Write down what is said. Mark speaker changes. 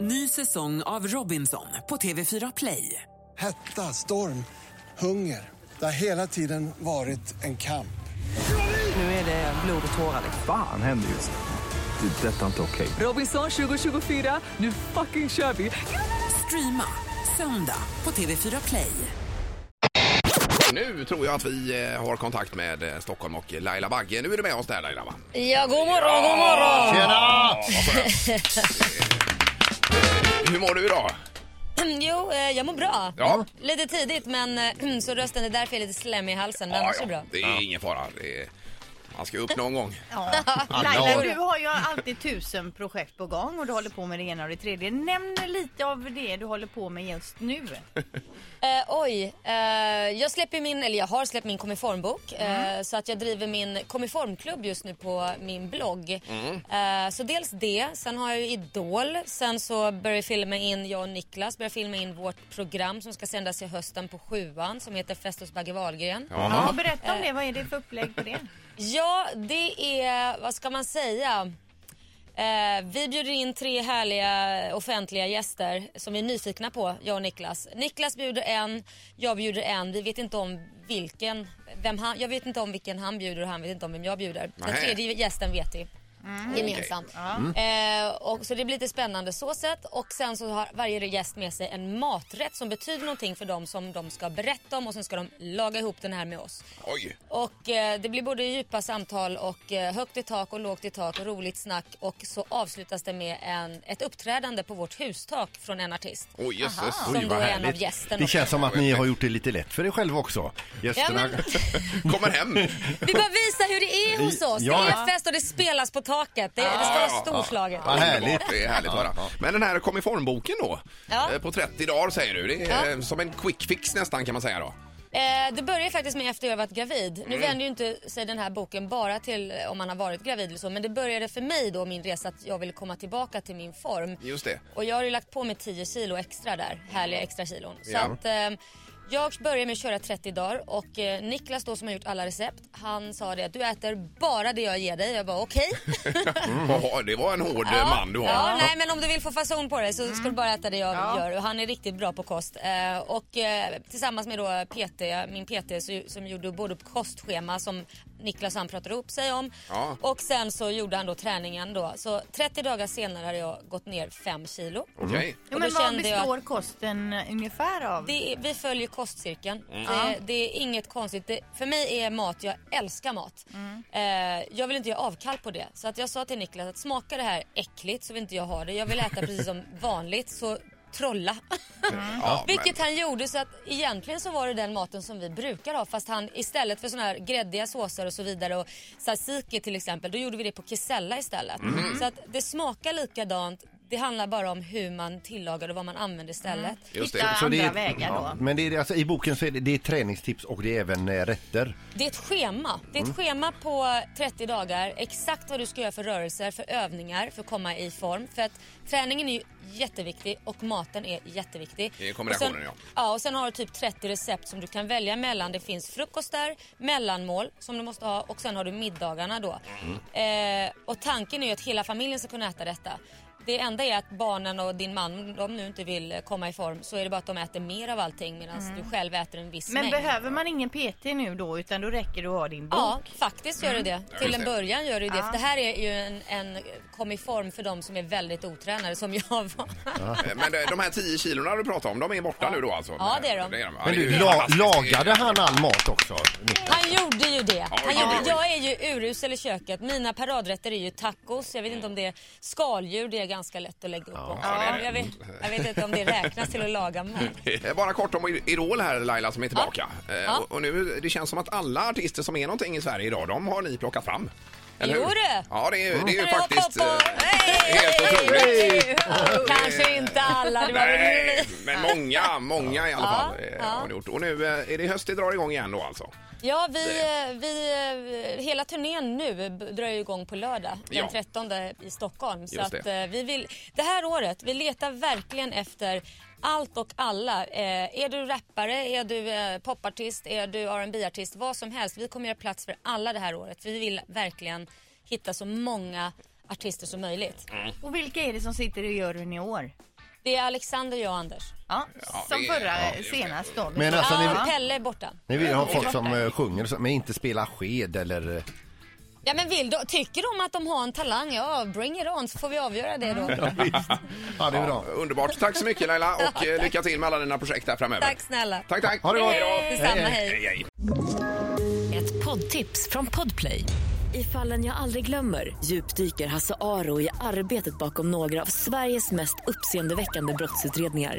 Speaker 1: Ny säsong av Robinson på TV4 Play.
Speaker 2: Hetta, storm, hunger. Det har hela tiden varit en kamp.
Speaker 1: Nu är det blod och tårar. liksom.
Speaker 3: Fan händer just nu. Det. är Detta är inte okej.
Speaker 1: Robinson 2024, nu fucking kör vi! Streama söndag på TV4 Play.
Speaker 4: Nu tror jag att vi eh, har kontakt med eh, Stockholm och Laila Bagge. Nu är du med oss där Laila va?
Speaker 5: Ja, god morgon, god morgon!
Speaker 4: Tjena! Eh, Hur mår du idag?
Speaker 5: Jo, eh, jag mår bra.
Speaker 4: Ja.
Speaker 5: Lite tidigt, men eh, så rösten, det är därför jag är lite slemmig i halsen. Men annars är det bra.
Speaker 4: Det är ingen fara. Det är... Man ska upp någon gång.
Speaker 6: Laila, du har ju alltid tusen projekt på gång och du håller på med det ena och det tredje. Nämn lite av det du håller på med just nu.
Speaker 5: Eh, oj, eh, jag släpper min, eller jag har släppt min komiformbok. Eh, så att jag driver min komiformklubb just nu på min blogg. Eh, så dels det, sen har jag ju Idol. Sen så börjar jag filma in, jag och Niklas börjar filma in vårt program som ska sändas i hösten på sjuan som heter Fest hos Bagge Wahlgren.
Speaker 6: Ja, berätta om det, vad är det för upplägg på det?
Speaker 5: Ja, det är, vad ska man säga? Eh, vi bjuder in tre härliga offentliga gäster som vi är nyfikna på, jag och Niklas. Niklas bjuder en, jag bjuder en. Vi vet inte om vilken, vem han, jag vet inte om vilken han bjuder och han vet inte om vem jag bjuder. Den
Speaker 4: Nej.
Speaker 5: tredje gästen vet vi. Gemensamt. Eh, och, så det blir lite spännande så sett. Och sen så har varje gäst med sig en maträtt som betyder någonting för dem som de ska berätta om och sen ska de laga ihop den här med oss.
Speaker 4: Oj!
Speaker 5: Och eh, det blir både djupa samtal och eh, högt i tak och lågt i tak och roligt snack och så avslutas det med en, ett uppträdande på vårt hustak från en artist.
Speaker 4: Oj,
Speaker 7: Ah.
Speaker 4: jösses.
Speaker 5: Som då är en av gästerna.
Speaker 7: Det känns som att ni har gjort det lite lätt för er själva också. Gästerna.
Speaker 5: Ja, men-
Speaker 4: Kommer hem.
Speaker 5: Vi bara visar hur det är hos oss.
Speaker 7: Ja. Ah.
Speaker 5: Det är fest och det spelas på taket. Det, det ska vara storslaget.
Speaker 7: Vad härligt.
Speaker 4: Underbart, Det är härligt att höra. Men den här kom i formboken då.
Speaker 5: Ja.
Speaker 4: eh, På 30 dagar säger du. Det är eh, som en quick fix nästan kan man säga då.
Speaker 5: Eh, det började faktiskt med efter jag varit gravid. Nu
Speaker 7: Mm.
Speaker 5: vänder ju inte sig den här boken bara till eh, om man har varit gravid eller så. Men det började för mig då min resa att jag ville komma tillbaka till min form.
Speaker 4: Just det.
Speaker 5: Och jag har ju lagt på mig 10 kilo extra där, härliga extra kilon. Så
Speaker 4: Ja.
Speaker 5: att eh, jag började med att köra 30 dagar och eh, Niklas då som har gjort alla recept, han sa det att du äter bara det jag ger dig. Jag bara okej.
Speaker 4: Jaha, det var en hård eh, man du har.
Speaker 5: Ja, nej men om du vill få fason på dig så ska du bara äta det jag gör. Och han är riktigt bra på kost. Eh, och eh, tillsammans med då PT, min PT så, som gjorde både upp kostschema som Niklas och han pratade upp sig om.
Speaker 4: Ja.
Speaker 5: Och sen så gjorde han då träningen då. Så 30 dagar senare hade jag gått ner 5 kilo.
Speaker 4: Okej.
Speaker 6: Jo,
Speaker 5: Och
Speaker 6: men
Speaker 5: då
Speaker 6: vad
Speaker 5: kände jag att-
Speaker 6: består kosten ungefär av?
Speaker 5: Det är, vi följer kostcirkeln.
Speaker 4: Mm.
Speaker 5: Det, det är inget konstigt. Det, för mig är mat, jag älskar mat.
Speaker 4: Mm.
Speaker 5: Eh, jag vill inte göra avkall på det. Så att jag sa till Niklas att smaka det här äckligt så vill inte jag ha det. Jag vill äta precis som vanligt. Så trolla.
Speaker 4: Ja, men-
Speaker 5: Mm. Vilket han gjorde så att egentligen så var det den maten som vi brukar ha fast han istället för såna här gräddiga såser och så vidare och tzatziki till exempel då gjorde vi det på kesella istället.
Speaker 4: Mm.
Speaker 5: Så att det smakar likadant. Det handlar bara om hur man tillagar och vad man använder istället.
Speaker 4: Just
Speaker 6: Hitta
Speaker 4: det.
Speaker 7: Så
Speaker 6: andra
Speaker 7: det är-
Speaker 6: vägar då.
Speaker 7: Men det är, alltså, i boken så är det, det är träningstips och det är även eh, rätter.
Speaker 5: Det är ett schema. Det är ett
Speaker 4: Mm.
Speaker 5: schema på 30 dagar. Exakt vad du ska göra för rörelser, för övningar, för att komma i form. För att träningen är ju jätteviktig och maten är jätteviktig.
Speaker 4: Det är kombinationen,
Speaker 5: och sen,
Speaker 4: ja.
Speaker 5: Ja, och sen har du typ 30 recept som du kan välja mellan. Det finns frukostar, mellanmål som du måste ha och sen har du middagarna då.
Speaker 4: Mm.
Speaker 5: Eh, och tanken är ju att hela familjen ska kunna äta detta. Det enda är att barnen och din man, om de nu inte vill komma i form, så är det bara att de äter mer av allting medan du själv äter en viss
Speaker 6: Mm. Men
Speaker 5: mängd.
Speaker 6: behöver man ingen PT nu då utan då räcker det att ha din bok?
Speaker 5: Ja, faktiskt gör det det. Till
Speaker 4: Mm. just
Speaker 5: en
Speaker 4: det.
Speaker 5: början gör det det. För det här är ju en, en kom i form för de som är väldigt otränade som jag var.
Speaker 4: Eh, Men eh, de här 10 kilorna du pratade om, de är borta nu då alltså?
Speaker 5: Ja, det är de.
Speaker 4: Ja,
Speaker 7: Men
Speaker 4: det är
Speaker 7: du,
Speaker 4: ju
Speaker 7: la,
Speaker 4: fantastiskt.
Speaker 7: lagade han all mat också?
Speaker 5: Han gjorde ju det. Han
Speaker 4: Oj, oj, oj.
Speaker 5: gjorde, jag är ju urusel i köket. Mina paradrätter är ju tacos. Jag vet inte om det är skaldjur. Det är ganska lätt att lägga upp också.
Speaker 4: ja, det är det.
Speaker 5: Jag, vet, jag vet inte om det räknas till att laga mat.
Speaker 4: Eh, Bara kort om Idol här Laila som är tillbaka. Eh,
Speaker 5: Ja.
Speaker 4: Och, och nu, det känns som att alla artister som är någonting i Sverige idag, de har ni plockat fram. Eller
Speaker 5: Jo
Speaker 4: hur?
Speaker 5: du.
Speaker 4: Ja, det är, det är ju
Speaker 5: Kan vi
Speaker 4: faktiskt
Speaker 5: hoppa på?
Speaker 4: eh, helt otroligt.
Speaker 5: Kanske inte alla. Det var
Speaker 4: Nej,
Speaker 5: väl
Speaker 4: men många, många i alla
Speaker 5: Ja,
Speaker 4: fall eh,
Speaker 5: ja.
Speaker 4: har ni gjort. Och nu eh, är det höst det drar igång igen då alltså?
Speaker 5: Ja, vi, eh, vi, eh, hela turnén nu b- drar ju igång på lördag den
Speaker 4: Ja.
Speaker 5: 13 i Stockholm. Så
Speaker 4: Just
Speaker 5: att,
Speaker 4: det.
Speaker 5: eh, vi vill, det här året, vi letar verkligen efter allt och alla. Eh, är du rappare, är du eh, popartist, är du rb artist vad som helst. Vi kommer göra plats för alla det här året. Vi vill verkligen hitta så många artister som möjligt.
Speaker 6: Och vilka är det som sitter i juryn i år?
Speaker 5: Det är Alexander, jag och Anders.
Speaker 6: Ja,
Speaker 4: Ja,
Speaker 6: som
Speaker 4: det-
Speaker 6: förra
Speaker 4: ja, det-
Speaker 6: senast då.
Speaker 7: Men alltså, ni-
Speaker 5: Ja,
Speaker 6: ja.
Speaker 5: Pelle är borta.
Speaker 7: Ni vill ha folk som eh, sjunger och så, men inte spela sked eller... eh,
Speaker 5: Ja, men vill de, tycker de att de har en talang, ja bring it on så får vi avgöra det då.
Speaker 7: Ja, det är bra.
Speaker 4: Underbart. Tack så mycket Laila och eh, lycka till med alla dina projekt här framöver.
Speaker 5: Tack snälla.
Speaker 4: Tack, tack.
Speaker 7: Ha det gott.
Speaker 4: Hej då.
Speaker 5: Detsamma, hej.
Speaker 4: Hej, hej.
Speaker 8: Ett poddtips från Podplay. I fallen jag aldrig glömmer djupdyker Hasse Aro i arbetet bakom några av Sveriges mest uppseendeväckande brottsutredningar.